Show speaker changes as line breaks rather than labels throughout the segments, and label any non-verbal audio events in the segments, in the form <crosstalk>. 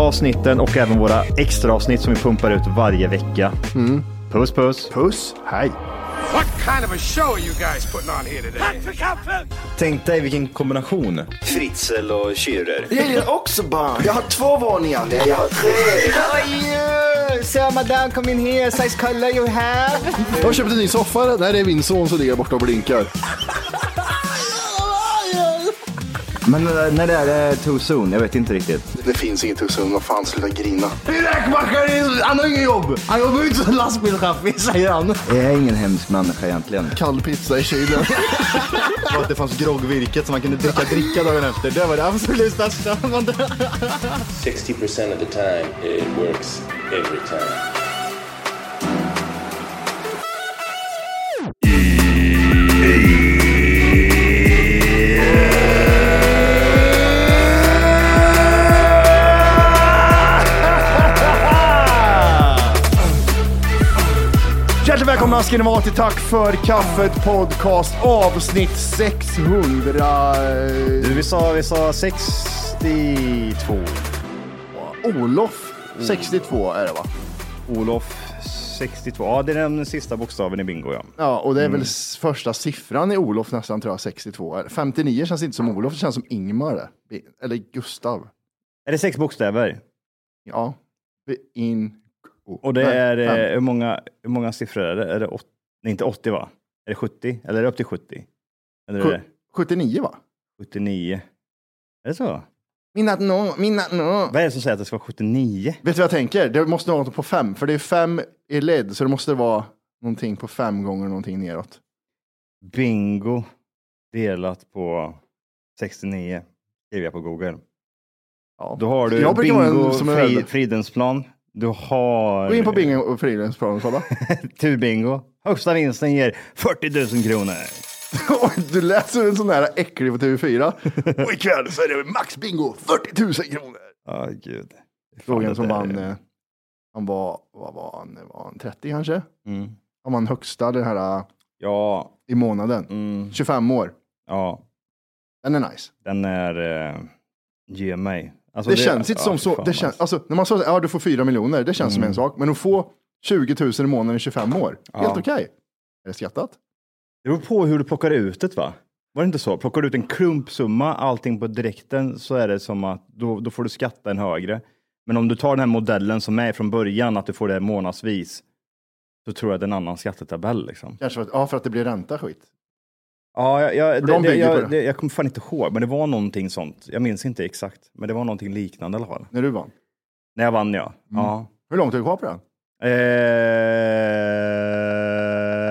avsnitten och även våra extra avsnitt som vi pumpar ut varje vecka.
Mm.
Puss puss!
Puss, hej.
What kind of a show are you guys putting on here today?
Tänk dig vilken kombination. Fritzl och Schürrer.
Jag gillar också barn. Jag har två våningar. Nej, jag har tre.
Sir, madame, come in here, size color you have.
Jag har köpt en ny soffa. Det här är min son som ligger borta och blinkar.
Men eh, när det är det too soon? Jag vet inte riktigt.
Det finns inget hos honom. Vad fan, sluta grina. Räkmackaren, han har inget jobb. Han jobbar inte som lastbilschaffis, säger han.
Jag är ingen hemsk människa egentligen.
Kall pizza i kylen.
Och att det fanns groggvirket som man kunde dricka dricka dagen efter. Det var det absolut största.
60% of the time, it works every time.
Hjärtligt välkomna ska ni vara till Tack för kaffet podcast avsnitt 600. eh,
Du, vi sa, vi sa 62.
Olof 62 är det va?
Olof 62. Ja, det är den sista bokstaven i bingo, ja.
Ja, och det är
Mm.
väl s- första siffran i Olof nästan tror jag, 62. är. 59 känns inte som Olof, det känns som Ingmar. det. Vi- Eller Gustav.
Är det sex bokstäver?
Ja. Vi- In... oh,
Och det
Nej,
är, eh,
fem.
hur, många, hur många siffror är det? Är det åt, nej, inte 80 va? Är det 70? Eller är det upp till 70? Eller är
Sju-
det
79 va?
79? Är det så?
Minat no, minat no.
Vad är det som säger att det ska vara 79?
Vet du vad jag tänker? Det måste vara något på fem, för det är fem i led, så det måste vara någonting på fem gånger någonting neråt.
Bingo delat på 69 skriver jag på Google.
Ja.
Då har du
Jag brukar vara en
bingo
som är
fri,
väldigt-
Fridensplan. Du har
Gå in på Bingo och Fridhems plan och kolla.
turbingo. Högsta vinsten ger 40 000 kronor.
<laughs> Och du läser en sån här äcklig på TV4. Och ikväll så är det Max Bingo, 40 000 kronor.
Ja, gud.
Frågan
det
som
där
vann,
är-
eh, han var, vad var han, var han 30 kanske?
Mm.
Han vann högsta den här eh,
Ja,
i månaden.
mm,
25 år.
ja,
Den är nice.
den är... Eh, ge mig. Alltså,
Det, känns inte
ja,
som
fy
så.
fan,
Det känns,
alltså. Mm.
alltså, när man sa att ja, du får 4 miljoner, det känns som en sak. Men att få 20 000 i månaden i 25 år, helt okej. Är det skattat?
Det beror på hur du plockar ut det va? Var det inte så? Plockar du ut en klumpsumma, allting på direkten, så är det som att då, då får du skatta en högre. Men om du tar den här modellen som är från början, att du får det månadsvis, så tror jag det är en annan skattetabell. Liksom.
Kanske för att, ja, för att det blir ränta skit.
Ja, jag, jag,
För
det,
de
det,
bygger på
jag,
det.
det, jag kommer fan inte ihåg, men det var någonting sånt. Jag minns inte exakt, men det var någonting liknande i alla fall.
När du vann.
När jag vann, ja.
Mm.
ja.
Hur långt är du kvar på den?
Eh...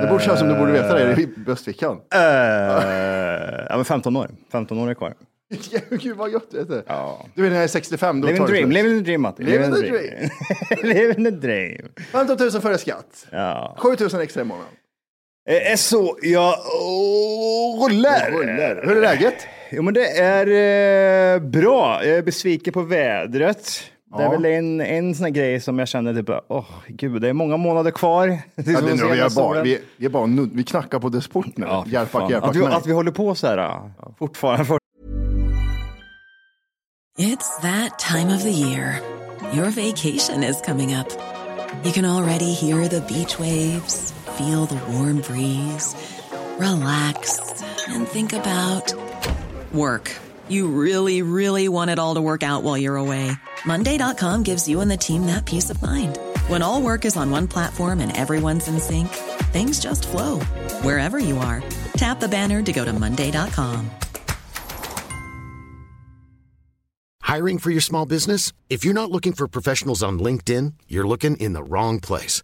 Det borde kännas som du borde veta det i bröstfickan. <laughs>
Eh, ja, men 15 år. 15 år är kvar.
Gud vad gött det är.
Ja.
Du vet när jag är 65, då
Live in
tar
the dream,
det
live
slut.
in the dream Matti.
Live in the
<laughs> live in the dream.
15 000 före skatt.
Ja.
7 000 extra i månaden.
Eh, eh, Så jag oh, rullar.
Rullar. Hur är läget?
Jo men det är eh, bra. Jag är besviken på vädret. Det är
Ja.
väl en, en sån här grej som jag känner typ, åh oh, gud, det är många månader kvar. tills
Ja,
vi
det är
får
nu
se
vi,
den
är
här
bara,
solen.
vi, vi, är bara nud, vi knackar på dess port nu.
Ja, fy
hjärpack,
fan.
hjärpack.
Att vi,
nej.
att vi håller på så här ja. fortfarande.
It's that time of the year. Your vacation is coming up. You can already hear the beach waves, feel the warm breeze, relax, and think about work. You really, really want it all to work out while you're away. Monday.com gives you and the team that peace of mind. When all work is on one platform and everyone's in sync, things just flow wherever you are. Tap the banner to go to Monday.com.
Hiring for your small business? If you're not looking for professionals on LinkedIn, you're looking in the wrong place.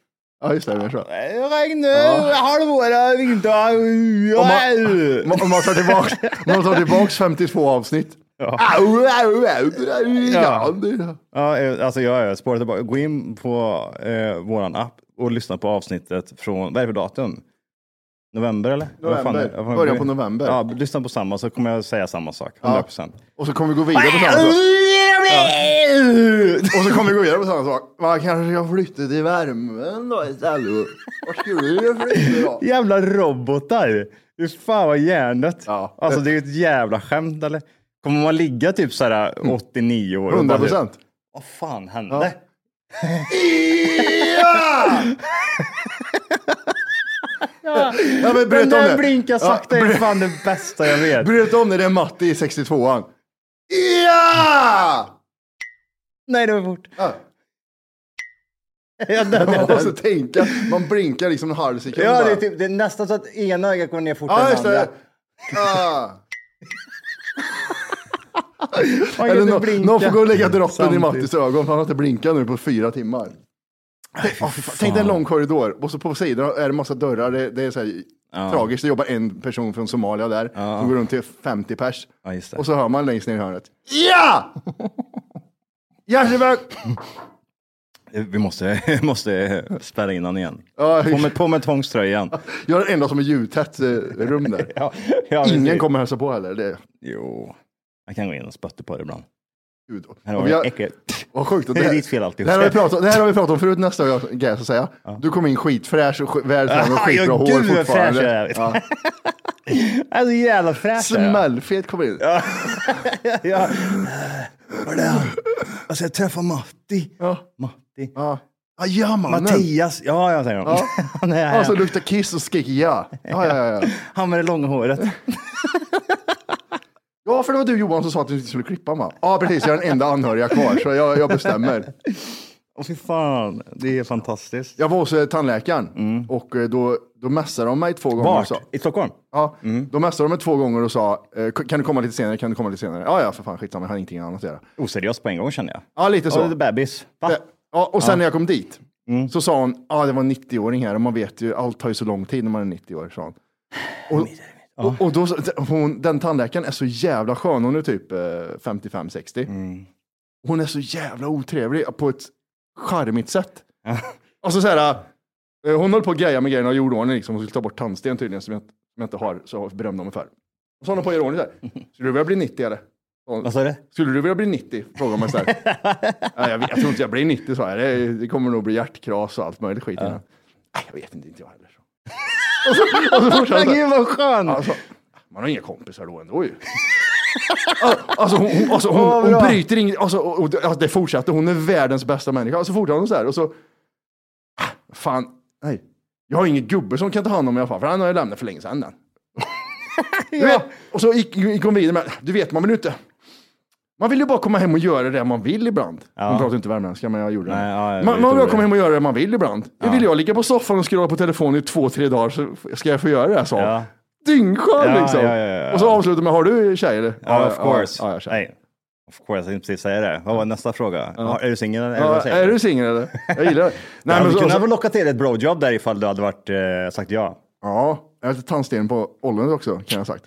Ja, just det. Det är så.
Regn, halvåra, vinter,
Om man, <laughs> om man tar tillbaks, om man tar tillbaks 52 avsnitt. Au, au, au,
Ja.
au.
Ja, eh, alltså jag är spårat tillbaka. Gå in på eh, våran app och lyssna på avsnittet från, vad är det för datum? November eller? Vad fan är det?
November.
Vad fan-
Början på november.
Ja, lyssna på samma så kommer jag säga samma sak. 100%. procent.
Och så kommer vi gå vidare på samma sak. <laughs> Och så kommer vi gå vidare på samma sak. Man kanske ska flytta till värmen då istället. Vart skulle du flytta då?
Jävla robotar! Fy fan vad hjärndött.
Ja.
Alltså det är ju ett jävla skämt eller? Kommer man ligga typ så här 89 år? och bara, typ,
100 Mm. procent.
Vad fan hände?
Ja, men
Den
bröt om
där
det.
blinka sakta är fan det bästa jag vet.
Bröt om det, det är Matti i 62an. Ja!
Nej, det var fort.
Ja.
Ja, den,
Man måste tänka, man blinkar liksom en halv sekund.
Ja, det är,
bara.
typ, det är nästan så att ena ögat går ner fortare
Ja,
än
just
andra.
det. Ja.
Man kan
Eller
inte
nå-
blinka.
någon får gå och lägga droppen
Samtidigt.
i Mattis ögon för han har inte blinkat nu på fyra timmar. Tänk- åh, fy fan. Tänk dig en lång korridor och så på sidorna är det massa dörrar. Det, det är så här, tragiskt. Det jobbar en person från Somalia där som går runt till 50 pers.
Ja, just det.
Och så hör man längst ner i hörnet. Ja! <laughs> Hjärtebög!
Eh, Vi måste, <laughs> måste eh, spärra in honom igen.
Ja,
På med, på med tvångströjan.
Jag är den enda som är ljudtätt eh, rum där.
<laughs> Ja, ja,
Ingen
precis.
kommer hälsa på heller. Det,
Jo, jag kan gå in och spötta på det ibland.
gud.
Här
Och
har
vi
jag
har- <laughs>
äckligt.
Vad sjukt.
Det är ditt fel alltihop.
Det här har vi pratat om, det här har vi pratat om förut nästa gång, kan jag så säga. Du kom in skitfräsch och sk- väl framme och
<laughs> Ja,
skitbra hår
gud vad fräsch jag
fortfarande.
är. <laughs> Jag är så jävla fräsch. jag är.
Smällfet kom in.
Ja. Hörde han? Alltså jag träffade Matti. Matti.
Ja. Ah, ja, mannen.
Mattias. Ja, jag säger honom. <laughs> Han är
Ja, Alltså-
här.
så luktar kiss och skrek ja. Ja, ja, ja.
Han med det långa håret.
ja, för det var du Johan som sa att du inte skulle klippa mig. Ja, precis. Jag är den enda anhöriga kvar, så jag, jag bestämmer.
Åh fy fan, det är fantastiskt.
Jag var hos eh, tandläkaren och eh, då, då mässade de mig två gånger. och
Mm. Vart? Mm.
sa-
I Stockholm?
Ja, Då mässade de mig två gånger och sa, eh, kan du komma lite senare, kan du komma lite senare? Ja, ja, för fan skitsamma, jag har ingenting annat att göra.
Oseriös på en gång känner jag.
Ja, lite så.
Och lite bebis. Va?
Det- Ja, och sen när jag kom dit så sa hon, ja ah, det var en 90-åring här och man vet ju, allt tar ju så lång tid när man är 90 år, sa hon. Och, och, och då, hon, den tandläkaren är så jävla skön, hon är typ eh, 55-60. Hon är så jävla otrevlig på ett charmigt sätt. Alltså så här, eh, hon höll på att greja med grejerna och gjorde ordning, liksom. hon skulle ta bort tandsten tydligen som jag, som jag inte har, så jag berömde henne för. Och så höll hon på att göra ordning där. Skulle du vilja bli 90 eller? Och hon,
Vad sa du?
skulle du vilja bli 90? Frågar man så här. Nej, jag, vet- jag tror inte jag blir 90, så här. Det, det kommer nog bli hjärtkras och allt möjligt skit. innan. Nej, jag vet inte, inte jag heller. <laughs> Och så, och så fortsätter hon så här.
Gud vad skön!
alltså, Man har inga kompisar då ändå
<laughs>
ju. Alltså hon, hon, alltså, hon,
Åh, vad
hon
bra.
bryter inget, alltså, och, och, alltså, det fortsätter, hon är världens bästa människa. Och så fortsätter hon så här och så, Ah, fan, nej. Jag har ingen gubbe som kan ta hand om mig i alla fall, för han har jag lämnat för länge sedan.
<laughs>
Den. Du vet, och så gick, gick hon vidare med, du vet man vill ju inte, man vill ju bara komma hem och göra det man vill ibland. Hon pratar inte värmländska men jag gjorde det.
Nej, ja, jag
man,
vet
man vill bara
hur
komma
det är.
hem och göra det man vill ibland. Vill jag ligga på soffan och scrolla på telefonen i två, tre dagar så ska jag få göra det. Så.
Ja.
Dyngskön
Ja,
liksom.
ja, ja, ja.
Och så avslutar man, har du tjej eller?
Ja, of course.
Ja, ja, jag har tjej.
Nej, of course, jag tänkte precis säga det. Vad var nästa fråga? Ja, Är du singel? eller
ja,
vad säger
är du singel eller?
<laughs>
Jag gillar det.
Nej,
Nej, men
du
så,
kunde väl
så,
locka till ett blowjob där ifall du hade varit, eh, sagt ja.
ja, jag har tandsten på ollonet också kan jag ha sagt.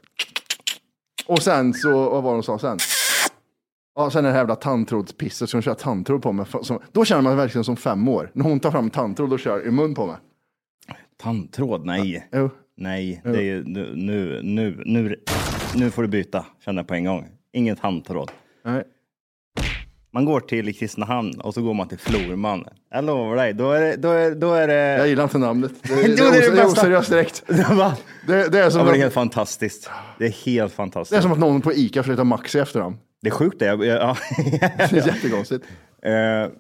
Och sen så, vad var det hon sa sen? Ja, sen är det här jävla tandtrådspisset som hon kör tandtråd på mig. Som, då känner man verkligen som fem år. När hon tar fram tandtråd och kör i mun på mig.
Tandtråd? Nej.
Jo.
Nej, det är ju nu, nu, nu, nu, nu får du byta, känner jag på en gång. Inget handtråd.
Nej.
Man går till Kristinehamn och så går man till Florman. Jag lovar dig, då är det... Då är, då är
Jag
det...
gillar inte namnet.
<laughs>
Det,
Jo,
det,
det är det
är, os- det är
bästa.
oseriöst direkt.
<laughs> Va?
Det, det, är
Ja,
som
men det är
att,
helt fantastiskt. Det är helt fantastiskt.
det är som att någon på Ica flyttar Maxi efter
<laughs>
dem.
Det är sjukt det. Jag, jag, ja. <laughs>
Det är jättekonstigt.
Eh,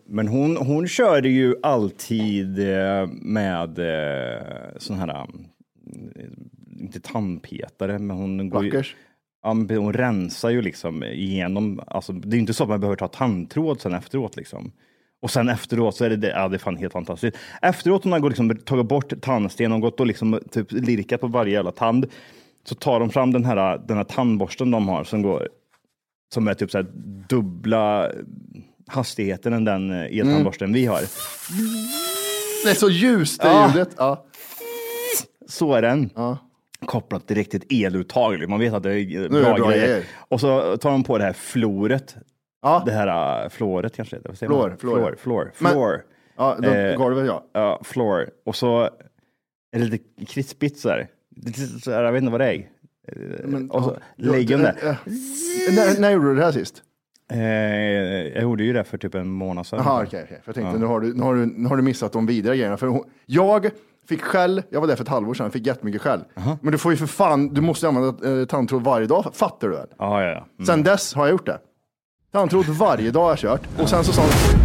Men hon, hon körde ju alltid eh, med eh, sån här... mm, inte tandpetare, men hon går ju,
Blackers.
ja, men hon rensar ju liksom igenom, alltså det är ju inte så att man behöver ta tandtråd sen efteråt liksom. Och sen efteråt så är det, det, ja det är fan helt fantastiskt. Efteråt när man går liksom, tagit bort tandsten och gått och liksom typ lirkat på varje jävla tand, så tar de fram den här, den här tandborsten de har som går, som är typ så här dubbla hastigheten än den eh, eltandborsten vi har.
Det är så ljust det ljudet. Ja.
Så är den. Kopplat direkt till ett eluttag. liksom. Man vet att det är bra,
det bra
grejer.
grejer.
Och så tar de på det här floret.
Ja.
Det här äh, floret kanske det heter. Vad säger
Flor,
man?
flor.
Flor, flor,
Men-
flor.
Ja, då,
Eh.
golvet ja.
Ja, floor. Och så är det lite krispigt så här. Lite så här, Jag vet inte vad det är. Eh, och så lägger de det.
Eh, eh, När, när gjorde du det här sist?
Eh, jag gjorde ju det för typ en månad sedan.
Jaha, okej. okej. För jag tänkte, nu, har du, nu, har du, nu har du missat de vidare grejerna. För hon, jag fick skäll, jag var där för ett halvår sedan, fick jättemycket skäll. Men du får ju för fan, du måste använda eh, tandtråd varje dag, fattar du väl?
Ja, ja, ja. Mm.
Sen dess har jag gjort det. Tandtråd varje dag har jag kört. Och sen så sa hon,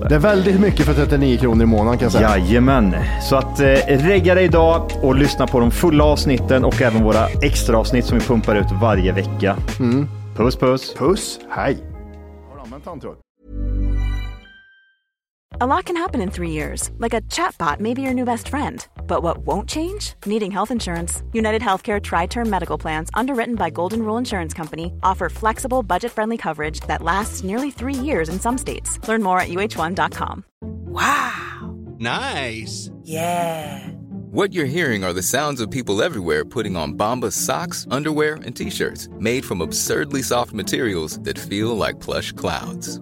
det.
Det är väldigt mycket för 39 kronor i månaden kan jag säga.
Jajamän, så att eh, regga dig idag och lyssna på de fulla avsnitten och även våra extra avsnitt som vi pumpar ut varje vecka.
Mm.
Puss puss!
Puss, hej. Har du använt tandtråd?
A lot can happen in three years, like a chatbot may be your new best friend. But what won't change? Needing health insurance. United Healthcare Tri Term Medical Plans, underwritten by Golden Rule Insurance Company, offer flexible, budget friendly coverage that lasts nearly three years in some states. Learn more at uh1.com.
Nice. Yeah. What you're hearing are the sounds of people everywhere putting on Bombas socks, underwear, and t-shirts made from absurdly soft materials that feel like plush clouds.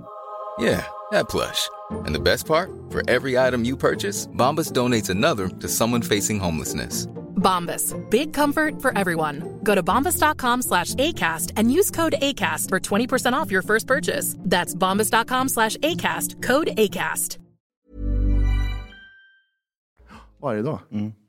Yeah, that plush. And the best part? For every item you purchase, Bombas donates another to someone facing homelessness.
Bombas. Big comfort for everyone. Go to bombas.com slash ACAST and use code ACAST for 20% off your first purchase. That's bombas.com slash ACAST. Code ACAST.
Varje dag?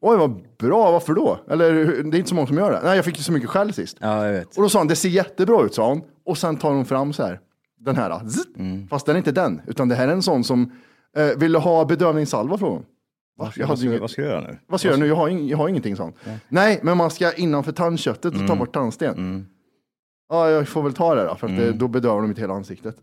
Oj, vad bra. Varför då? Eller hur- det är inte så många som gör det. Nej, jag fick ju så mycket skäll sist.
Ja, jag vet.
Och då sa hon, det ser jättebra ut, sa hon. Och sen tar hon fram så här, den här. då. Zzzt. Fast den är inte den, utan det här är en sån som eh, ville ha bedövningssalva från hon. Va? Jag
Vad
hade
ska,
inget,
vad ska jag göra nu?
vad ska jag göra nu? Jag har, ing, jag har ingenting sånt. Nej. Mm. men man ska innanför tandköttet och ta bort tandsten. Ja, jag får väl ta det då, för att det, då bedövar de inte hela ansiktet.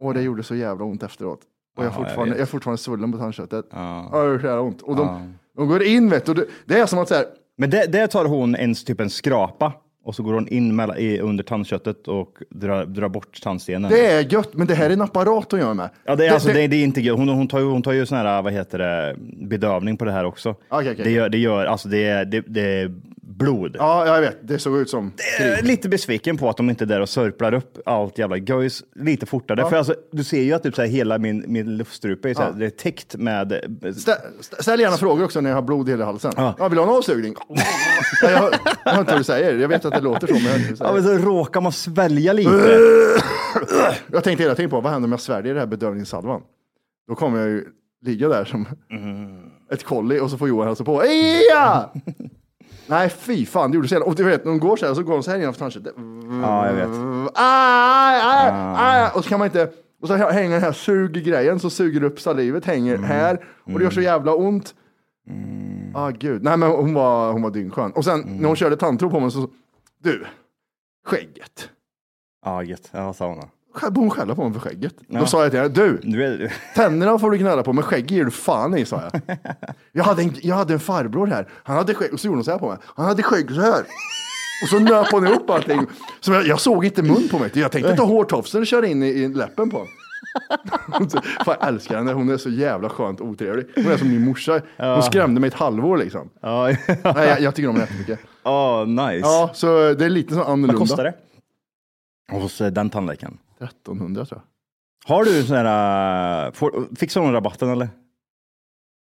Och det gjorde så jävla ont efteråt. Och jag,
Ja, jag
fortfarande, jag,
vet.
är fortfarande svullen på tandköttet.
Ja.
Ja, det gör så jävla ont. Och de, de går in, vet du. och Det, det är som att så här,
Men där, där tar hon en, typ en skrapa och så går hon in mellan, i, under tandköttet och drar, drar bort tandstenen.
det är gött, men det här är en apparat hon gör med.
Ja, det är, alltså, det, det är inte gött. Hon, hon tar ju, hon tar ju sån här, vad heter det, bedövning på det här också.
Ah, Okej, okej.
Det gör, det gör, alltså det är, det, det är blod.
Ja, jag vet. Det såg ut som krig.
Eh, Lite besviken på att de inte är där och sörplar upp allt jävla göjs lite fortare. För alltså, du ser ju att typ så här, hela min, min luftstrupe är, så här, det är täckt med... eh,
Stä- stä- Ställ gärna frågor också när jag har blod i hela halsen.
Ja.
Ja, vill du ha en <laughs> avsugning? Ja, jag, hör, jag hör inte vad du säger. Jag vet att det låter så, men jag, hör inte vad
Ja,
du
men
säger.
så råkar man svälja lite.
Äh. jag tänkte hela tiden på, vad händer om jag sväljer det här bedövningssalvan? Då kommer jag ju ligga där som ett kolli och så får Johan hälsa på. Eja! Nej, fy fan, det gjorde så jävla... Och du vet, när de går så här, så går de så här innanför tandköttet.
Ja, jag vet.
Aj, aj, aj. Och så kan man inte... Och så hänger den här suggrejen som suger upp salivet, hänger här. Och det gör så jävla ont. Ah, gud. Nej, men hon var, hon var dyngskön. Och sen när hon körde tandtråd på mig så... Du, skägget.
Ja, gött. Ja, sa hon. då.
Skä- Hon skällde på mig för skägget. Då sa jag till henne, du,
Du är... <laughs>
Tänderna får du gnälla på, men skägg ger du fan i, sa jag. Jag hade, en, jag hade en farbror här, han hade skägg, och så gjorde hon så här på mig. Han hade skägg så här. Och så nöp hon ihop allting. Så jag, jag såg inte mun på mig. Jag tänkte ta hårtofsen och köra in i, i läppen på <laughs> honom. Hon så- Fan, jag älskar henne, hon är så jävla skönt otrevlig. Hon är som min morsa. Hon skrämde mig ett halvår liksom.
Ja,
Nej, jag, jag tycker om henne jättemycket.
Ja, nice.
Ja, så det är lite så annorlunda.
Vad kostar det? Hos eh, den tandläkaren.
1300 tror jag.
Har du sån här, eh, får, fixar hon rabatten eller?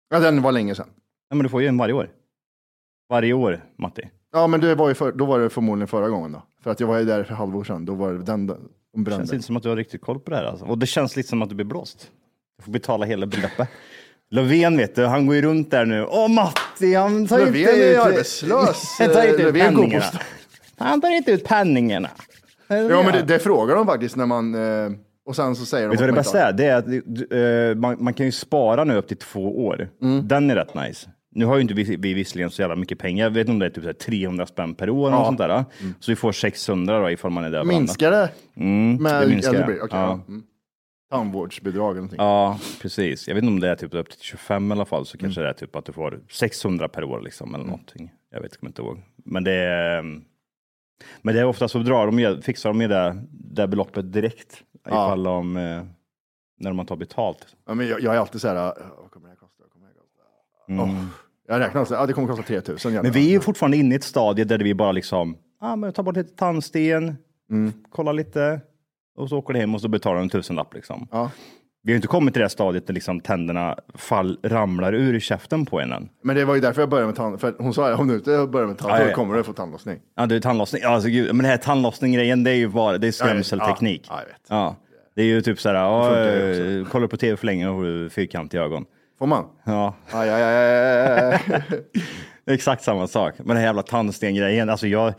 Ja, den var länge sedan.
Nej, men du får ju en varje år. Varje år, Matti.
Ja, men det var ju för, då var det förmodligen förra gången då. För att jag var ju där för halvår sedan. Då var det den de
Det
brände.
känns inte som att du har riktigt koll på det här alltså. Och det känns lite som att du blir blåst. Du får betala hela beloppet. Löfven vet du, han går ju runt där nu. Åh Matti, han tar
Löfven
inte
är ju
ut...
arbetslös.
<laughs>
eh,
Han tar inte ut
Löfven går på
penningarna.
stan.
Han tar inte ut penningarna.
Ja, men det, det frågar de faktiskt när man... Eh, och sen så säger de...
Vet du
att
vad det
man
bästa
inte
är? Det är att eh, man, man kan ju spara nu upp till två år.
Mm.
Den är rätt nice. Nu har ju inte vi, vi visserligen så jävla mycket pengar. Jag vet inte om det är typ så här 300 spänn per år.
Ja. Mm.
Och sånt där. Så vi får 600 då, ifall man är där.
har-
varandra.
Minskar det?
Mm,
Med
det minskar det.
Elderberry? Okej,
ja.
ja. Mm. Tandvårdsbidrag eller någonting.
ja, precis. Jag vet inte om det är typ upp till 25 i alla fall. Så
Mm.
kanske det är typ att du får 600 per år liksom, eller någonting. Jag vet jag kommer inte ihåg. Men det är... mm. Men det är ofta så drar de, ju- fixar de ju det, det beloppet direkt. Ifall de, eh, när man tar betalt.
Ja, men jag, jag är alltid så här, "Ah, vad kommer det här kosta? Vad kommer det här kosta? Åh, jag räknar så här, ah, det kommer kosta 3000.
Mm. Men vi är ju fortfarande inne i ett stadie där vi bara liksom, ah, men tar bort lite tandsten, kollar lite och så åker det hem och så betalar en tusenlapp liksom. Vi har ju inte kommit till det här stadiet där liksom tänderna fall, ramlar ur käften på en än.
Men det var ju därför jag började med tand... För att hon sa, om du inte börjar med
Ja,
tand,
ja,
då
ja.
kommer du få tandlossning.
Ja, det är tandlossning. Ja, Alltså, gud, men det här tandlossning-grejen, det är ju bara, det är skrämselteknik.
Ja, jag vet.
Ja. Det är ju typ så här,
Det
ja,
funkar ju
eh, kollar du på tv för länge och får du fyrkantiga ögon.
Får man?
Ja,
Aj, aj, aj, aj, aj,
<laughs>
<laughs> aj.
det är <laughs> exakt samma sak. Men den här jävla tandsten-grejen, alltså jag,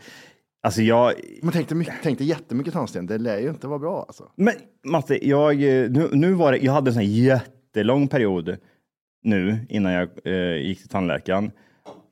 alltså jag,
Man tänkte, mycket, tänkte jättemycket tandsten, det lär ju inte vara bra alltså.
Men Matte, jag, eh, nu, nu var det, jag hade en sån här jättelång period nu innan jag eh, gick till tandläkaren.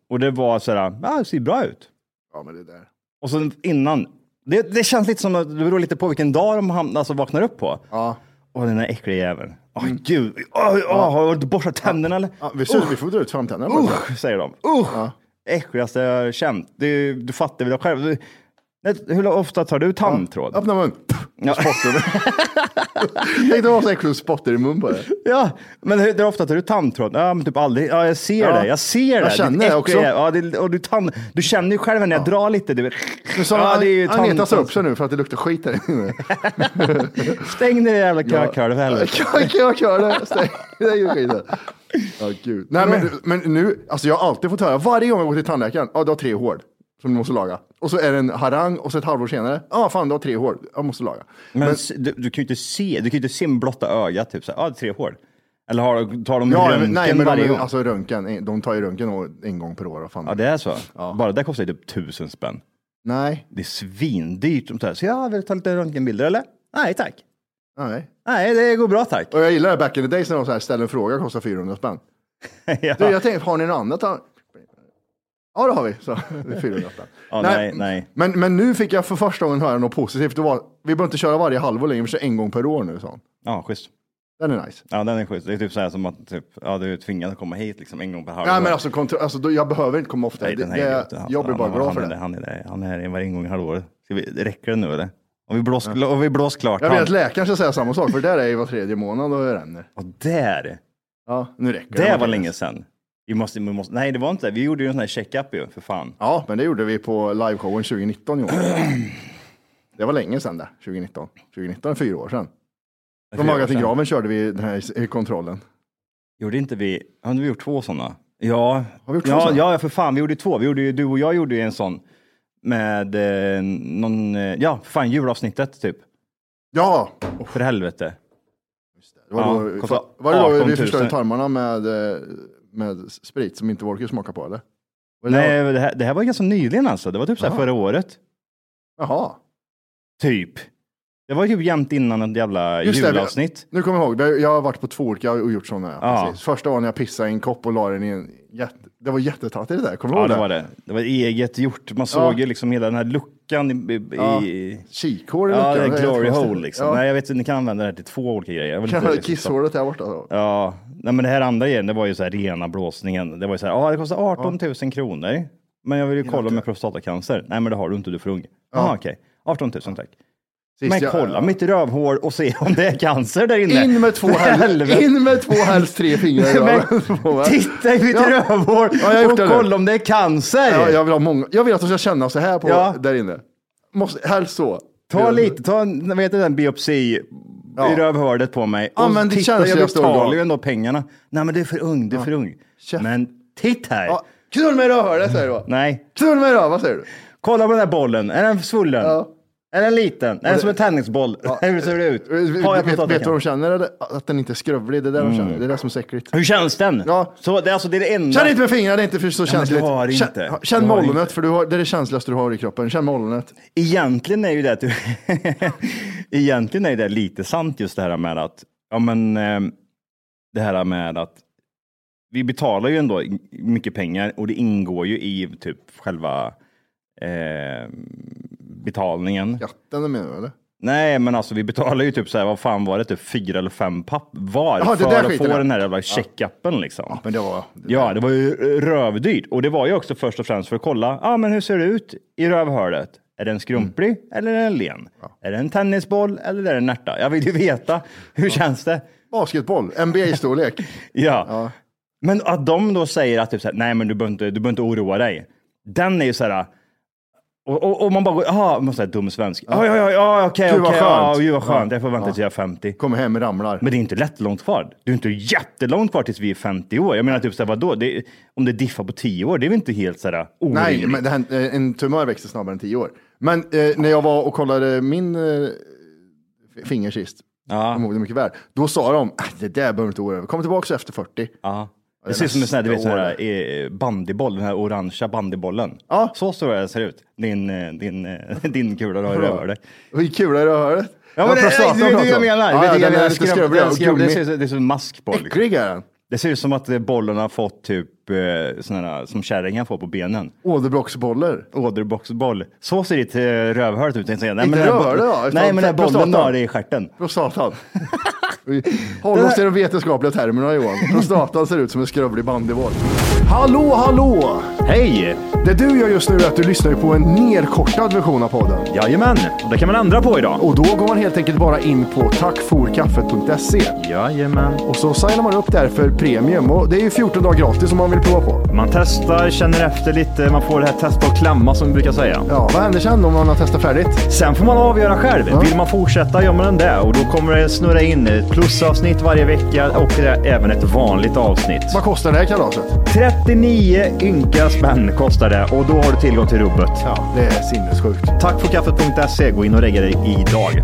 Och det var så här, ah, det ser bra ut.
Ja, men det där.
Och sen innan, det, det känns lite som att det beror lite på vilken dag de ham- alltså vaknar upp på.
Ja. Mm.
Åh, den där äckliga jäveln. Åh, gud. Åh, åh, Har du inte borstat tänderna eller?
Ja, vi,
Oh!
ser, vi får dra ut framtänderna. bara.
Usch, säger de. Usch! Äckligaste jag har känt. Du, du fattar väl själv. Du, hur ofta tar du tandtråd?
Öppna mun.
Ja.
Tänk dig vad så äcklig och spottar i mun på det.
Ja, men hur, hur ofta tar du tandtråd? Ja, men typ aldrig. Ja, jag ser
Ja.
det. Jag ser det.
Jag känner
Ditt
det
äckliga-
också.
Ja, det, och du, tand, du känner ju själv när jag drar lite. Du vet.
Nu sa
ja,
han, han retar sig
tand-
upp sig nu för att det luktar skit här
<laughs>
inne.
Stäng det jävla kökhålet för helvete.
Kan jag köra det? Stäng- Det är ju skiten. Ja, gud. Nej, men, men nu, alltså jag har alltid fått höra, varje gång jag går till tandläkaren, ja du har tre hål som du måste laga. Och så är det en harang och så ett halvår senare, ja fan du har tre hål, jag måste laga.
Men, s- du, du kan ju inte se. Du kan ju inte se med blotta ögat. Typ så här, ja, tre hår. Eller har, tar de
Ja,
röntgen
men, nej, men
varje
de,
gång?
alltså röntgen, de tar ju röntgen å- en gång per år. Vad fan.
Ja, det är så. Bara det kostar ju typ tusen spänn.
Nej,
Det är svindyrt. De tar, så jag vill du ta lite röntgenbilder eller? Nej, tack.
nej.
Nej, det går bra tack.
Och jag gillar det back in the days när de så här ställer en fråga, kostar 400 spänn.
ja.
Du, jag tänkte, har ni något annat? här? Ja, det har vi. Så, <laughs> det är 400 spänn.
ja, nej, nej.
Men, men nu fick jag för första gången höra något positivt. Det var, vi behöver inte köra varje halvår längre, vi kör en gång per år nu, sa han.
<laughs> Ja, schysst.
Den är nice.
Ja, den är schysst. Det är typ så här som att typ, ja, du är tvingad att komma hit liksom en gång per halvår.
Nej, men alltså, kontro- alltså då, jag behöver inte komma ofta.
Nej, den här
Det- det-
idioten, han-
jag blir bara
han,
glad
han,
för
är
det.
Han är, där- han är där varje gång i halvåret. Ska vi, räcker det nu eller? Om vi blåst, om vi blåst klart
Jag vet att
han.
läkaren ska säga samma sak, för det där är ju var tredje månad och det ränner.
Och där!
Ja, nu räcker det.
Det var länge sedan. Vi måste, vi måste, nej, det var inte det. Vi gjorde ju en sån här check-up ju, för fan.
Ja, men det gjorde vi på liveshowen 2019 i
<clears throat>
år. Det var länge sedan det, 2019. 2019 är fyra år sedan. Från
Fyra år
Maga till
sedan.
graven körde vi den här i- i kontrollen.
Gjorde inte vi, har vi gjort två sådana? Ja,
Har vi gjort två
ja,
såna?
ja, ja, för fan, vi gjorde två. Vi gjorde, ju- du och jag gjorde ju en sån med eh, någon, eh, ja, för fan, julavsnittet typ.
Ja,
För helvete.
det var,
Ja,
då,
kostade
var det då
18
vi
000.
förstörde tarmarna med, eh, med sprit som inte vår orkade smaka på eller? Var det
Nej, det här, det här var ganska nyligen alltså. Det var typ så här
Jaha.
förra året.
Jaha,
Typ. Det var ju jämt innan ett jävla
Just det, vi-
julavsnitt.
nu kommer jag ihåg. Vi- Jag har varit på två olika och gjort sådana.
Ja.
Ja. precis. Första var när jag pissade i en kopp och la den i en jätte... Det var jättetattigt det där, kommer du
ja,
ihåg
det var det. Det var eget gjort. Man såg ju liksom hela den här luckan i... i,
Ja.
i
Kikhål i
ja, det
luckan,
är
det är
glory
jättekonstigt.
hole liksom.
Ja.
Nej, jag vet inte, ni kan använda det här till två olika grejer. Jag vill
Kan-
inte liksom-
Kisshålet där borta. Då.
Ja, nej, men det här andra grejen, det var ju så här rena blåsningen. Det var ju så här, ja, det kostar 18 000 kronor. Men jag vill ju kolla med prostatacancer. Nej, men det har du inte, du är för ung. Ja, okej. 18 000 tack.
Sist
Men
jag-
kolla mitt rövhål och se om det är cancer där inne.
In med
<laughs>
två helst, in med två helst tre fingrar i
Men,
röven. Får man.
titta i mitt
Ja.
rövhål
Ja, jag har gjort
och
det nu.
kolla om det är cancer.
Ja, jag, vill ha många. jag vill att de ska känna så här på
Ja.
där inne. Måste, helst så.
Ta lite, ta en, vad heter den, biopsi
Ja.
i rövhålet på mig.
Ja, men det
titta,
känns
jag
ju efter
betalar
organ.
ju ändå pengarna. Nej, men du är för ung, du är för ung.
Chef.
Men titt här,
Ja, Knull mig i rövhålet säger du va?
Nej.
Knull mig i röv, vad säger du?
Kolla på den här bollen. Är den svullen? Är den liten? Är den som en tennisboll? <laughs> Hur ser det ut? Har jag
vet, vet du vad de
potatiskan?
känner? Eller? Att den inte är skrövlig, det är det
Mm.
de känner. Det är det som är så äckligt.
Hur känns den? Ja. Så det, är alltså, det är det enda.
Känn inte med fingrarna, det är inte för så
men du
känsligt.
har
Känn-
inte.
ha-
Du
Känn
har
mollonet, för du har, det är det känsligaste du har i kroppen. Känn mollonet.
Egentligen är ju det, att du... <laughs> Egentligen är det lite sant just det här med att, ja men eh, det här med att vi betalar ju ändå mycket pengar och det ingår ju i typ själva eh, betalningen.
Den är med nu, eller?
Nej, men alltså vi betalar ju typ så här, vad fan var det, typ fyra eller fem papp var
Jaha, det där
för att få
skiten, ja.
den här jävla checkuppen liksom. Ja,
men det var...
Ja, det var ju rövdyrt och det var ju också först och främst för att kolla, ja ah, men hur ser det ut i rövhålet? Är den skrumplig
Mm.
eller är den len? Är det en tennisboll eller är det en ärta? Jag vill ju veta, hur känns det?
Basketboll, NBA-storlek.
ja. men att de då säger att typ så här, nej men du behöver inte, du behöver inte oroa dig. Den är ju så här, och, och, och man bara går, jaha, man säger dum svensk. Ja, ja, ja, ja, okej,
Gud, vad
okej,
skönt.
ja, gud vad skönt,
Ja.
jag får vänta
Ja.
tills jag är 50.
Kommer hem, ramlar.
Men det är inte lätt långt kvar. Det är inte jättelångt kvar tills vi är 50 år. Jag menar, typ så här, vadå? Det, om det diffar på 10 år, det är väl inte helt så här orimligt?
Nej, men det här, eh, en tumör växer snabbare än tio år. Men eh, när jag var och kollade min eh, f- finger sist, jag kommer ihåg det mycket väl, då sa de, "Ah, det där behöver du inte oroa dig över. Kom tillbaka efter 40.
Ja.
det
Det ser ut som en sån här, du vet,
nästa
sån
år.
här eh, bandyboll, den här orangea bandybollen. Så ser det ser ut. Din, eh, din, eh, <laughs> din kula du har i
Bra.
rövhålet.
Vilken kula du har hört.
Ja, men det,
prostatan
det, det, det, det
pratar
jag
om.
menar.
Ja,
det,
ja,
det,
den
det,
är
det,
lite
skrubb-
skrubbig
den
och
skrubb- det,
gummig.
ser ut som- det är som en maskboll. liksom.
Äcklig är den.
Det ser ut som att eh, bollen har fått typ eh, såna här, som kärringar får på benen.
Åderbråcksbollar.
Åderboxboll. Så ser ditt eh, rövhål ut. Inte
Inte rövhålet då?
Nej, men den här bollen du har i stjärten. <laughs>
Prostatan. Håll oss till de vetenskapliga termerna Johan. Prostatan ser ut som en skrubblig bandyboll. Hallå, hallå!
Hej!
Det du gör just nu är att du lyssnar ju på en nerkortad version av podden.
Jajamän, och det kan man ändra på idag.
Och då går man helt enkelt bara in på tackforkaffet.se.
Jajamän.
Och så signar man upp där för premium. Och det är ju 14 dagar gratis om man vill prova på.
Man testar, känner efter lite, man får det här testa och klämma som vi brukar säga.
Ja, vad händer sen om man har testat färdigt?
Sen får man avgöra själv. Vill man fortsätta gör man det och då kommer det snurra in ett plusavsnitt varje vecka och det är även ett vanligt avsnitt.
Vad kostar det här kalaset?
39 ynka spänn kostar det och då har du tillgång till rubbet.
Ja, det är sinnessjukt.
Tack för kaffet.se. E. Gå in och regga dig idag.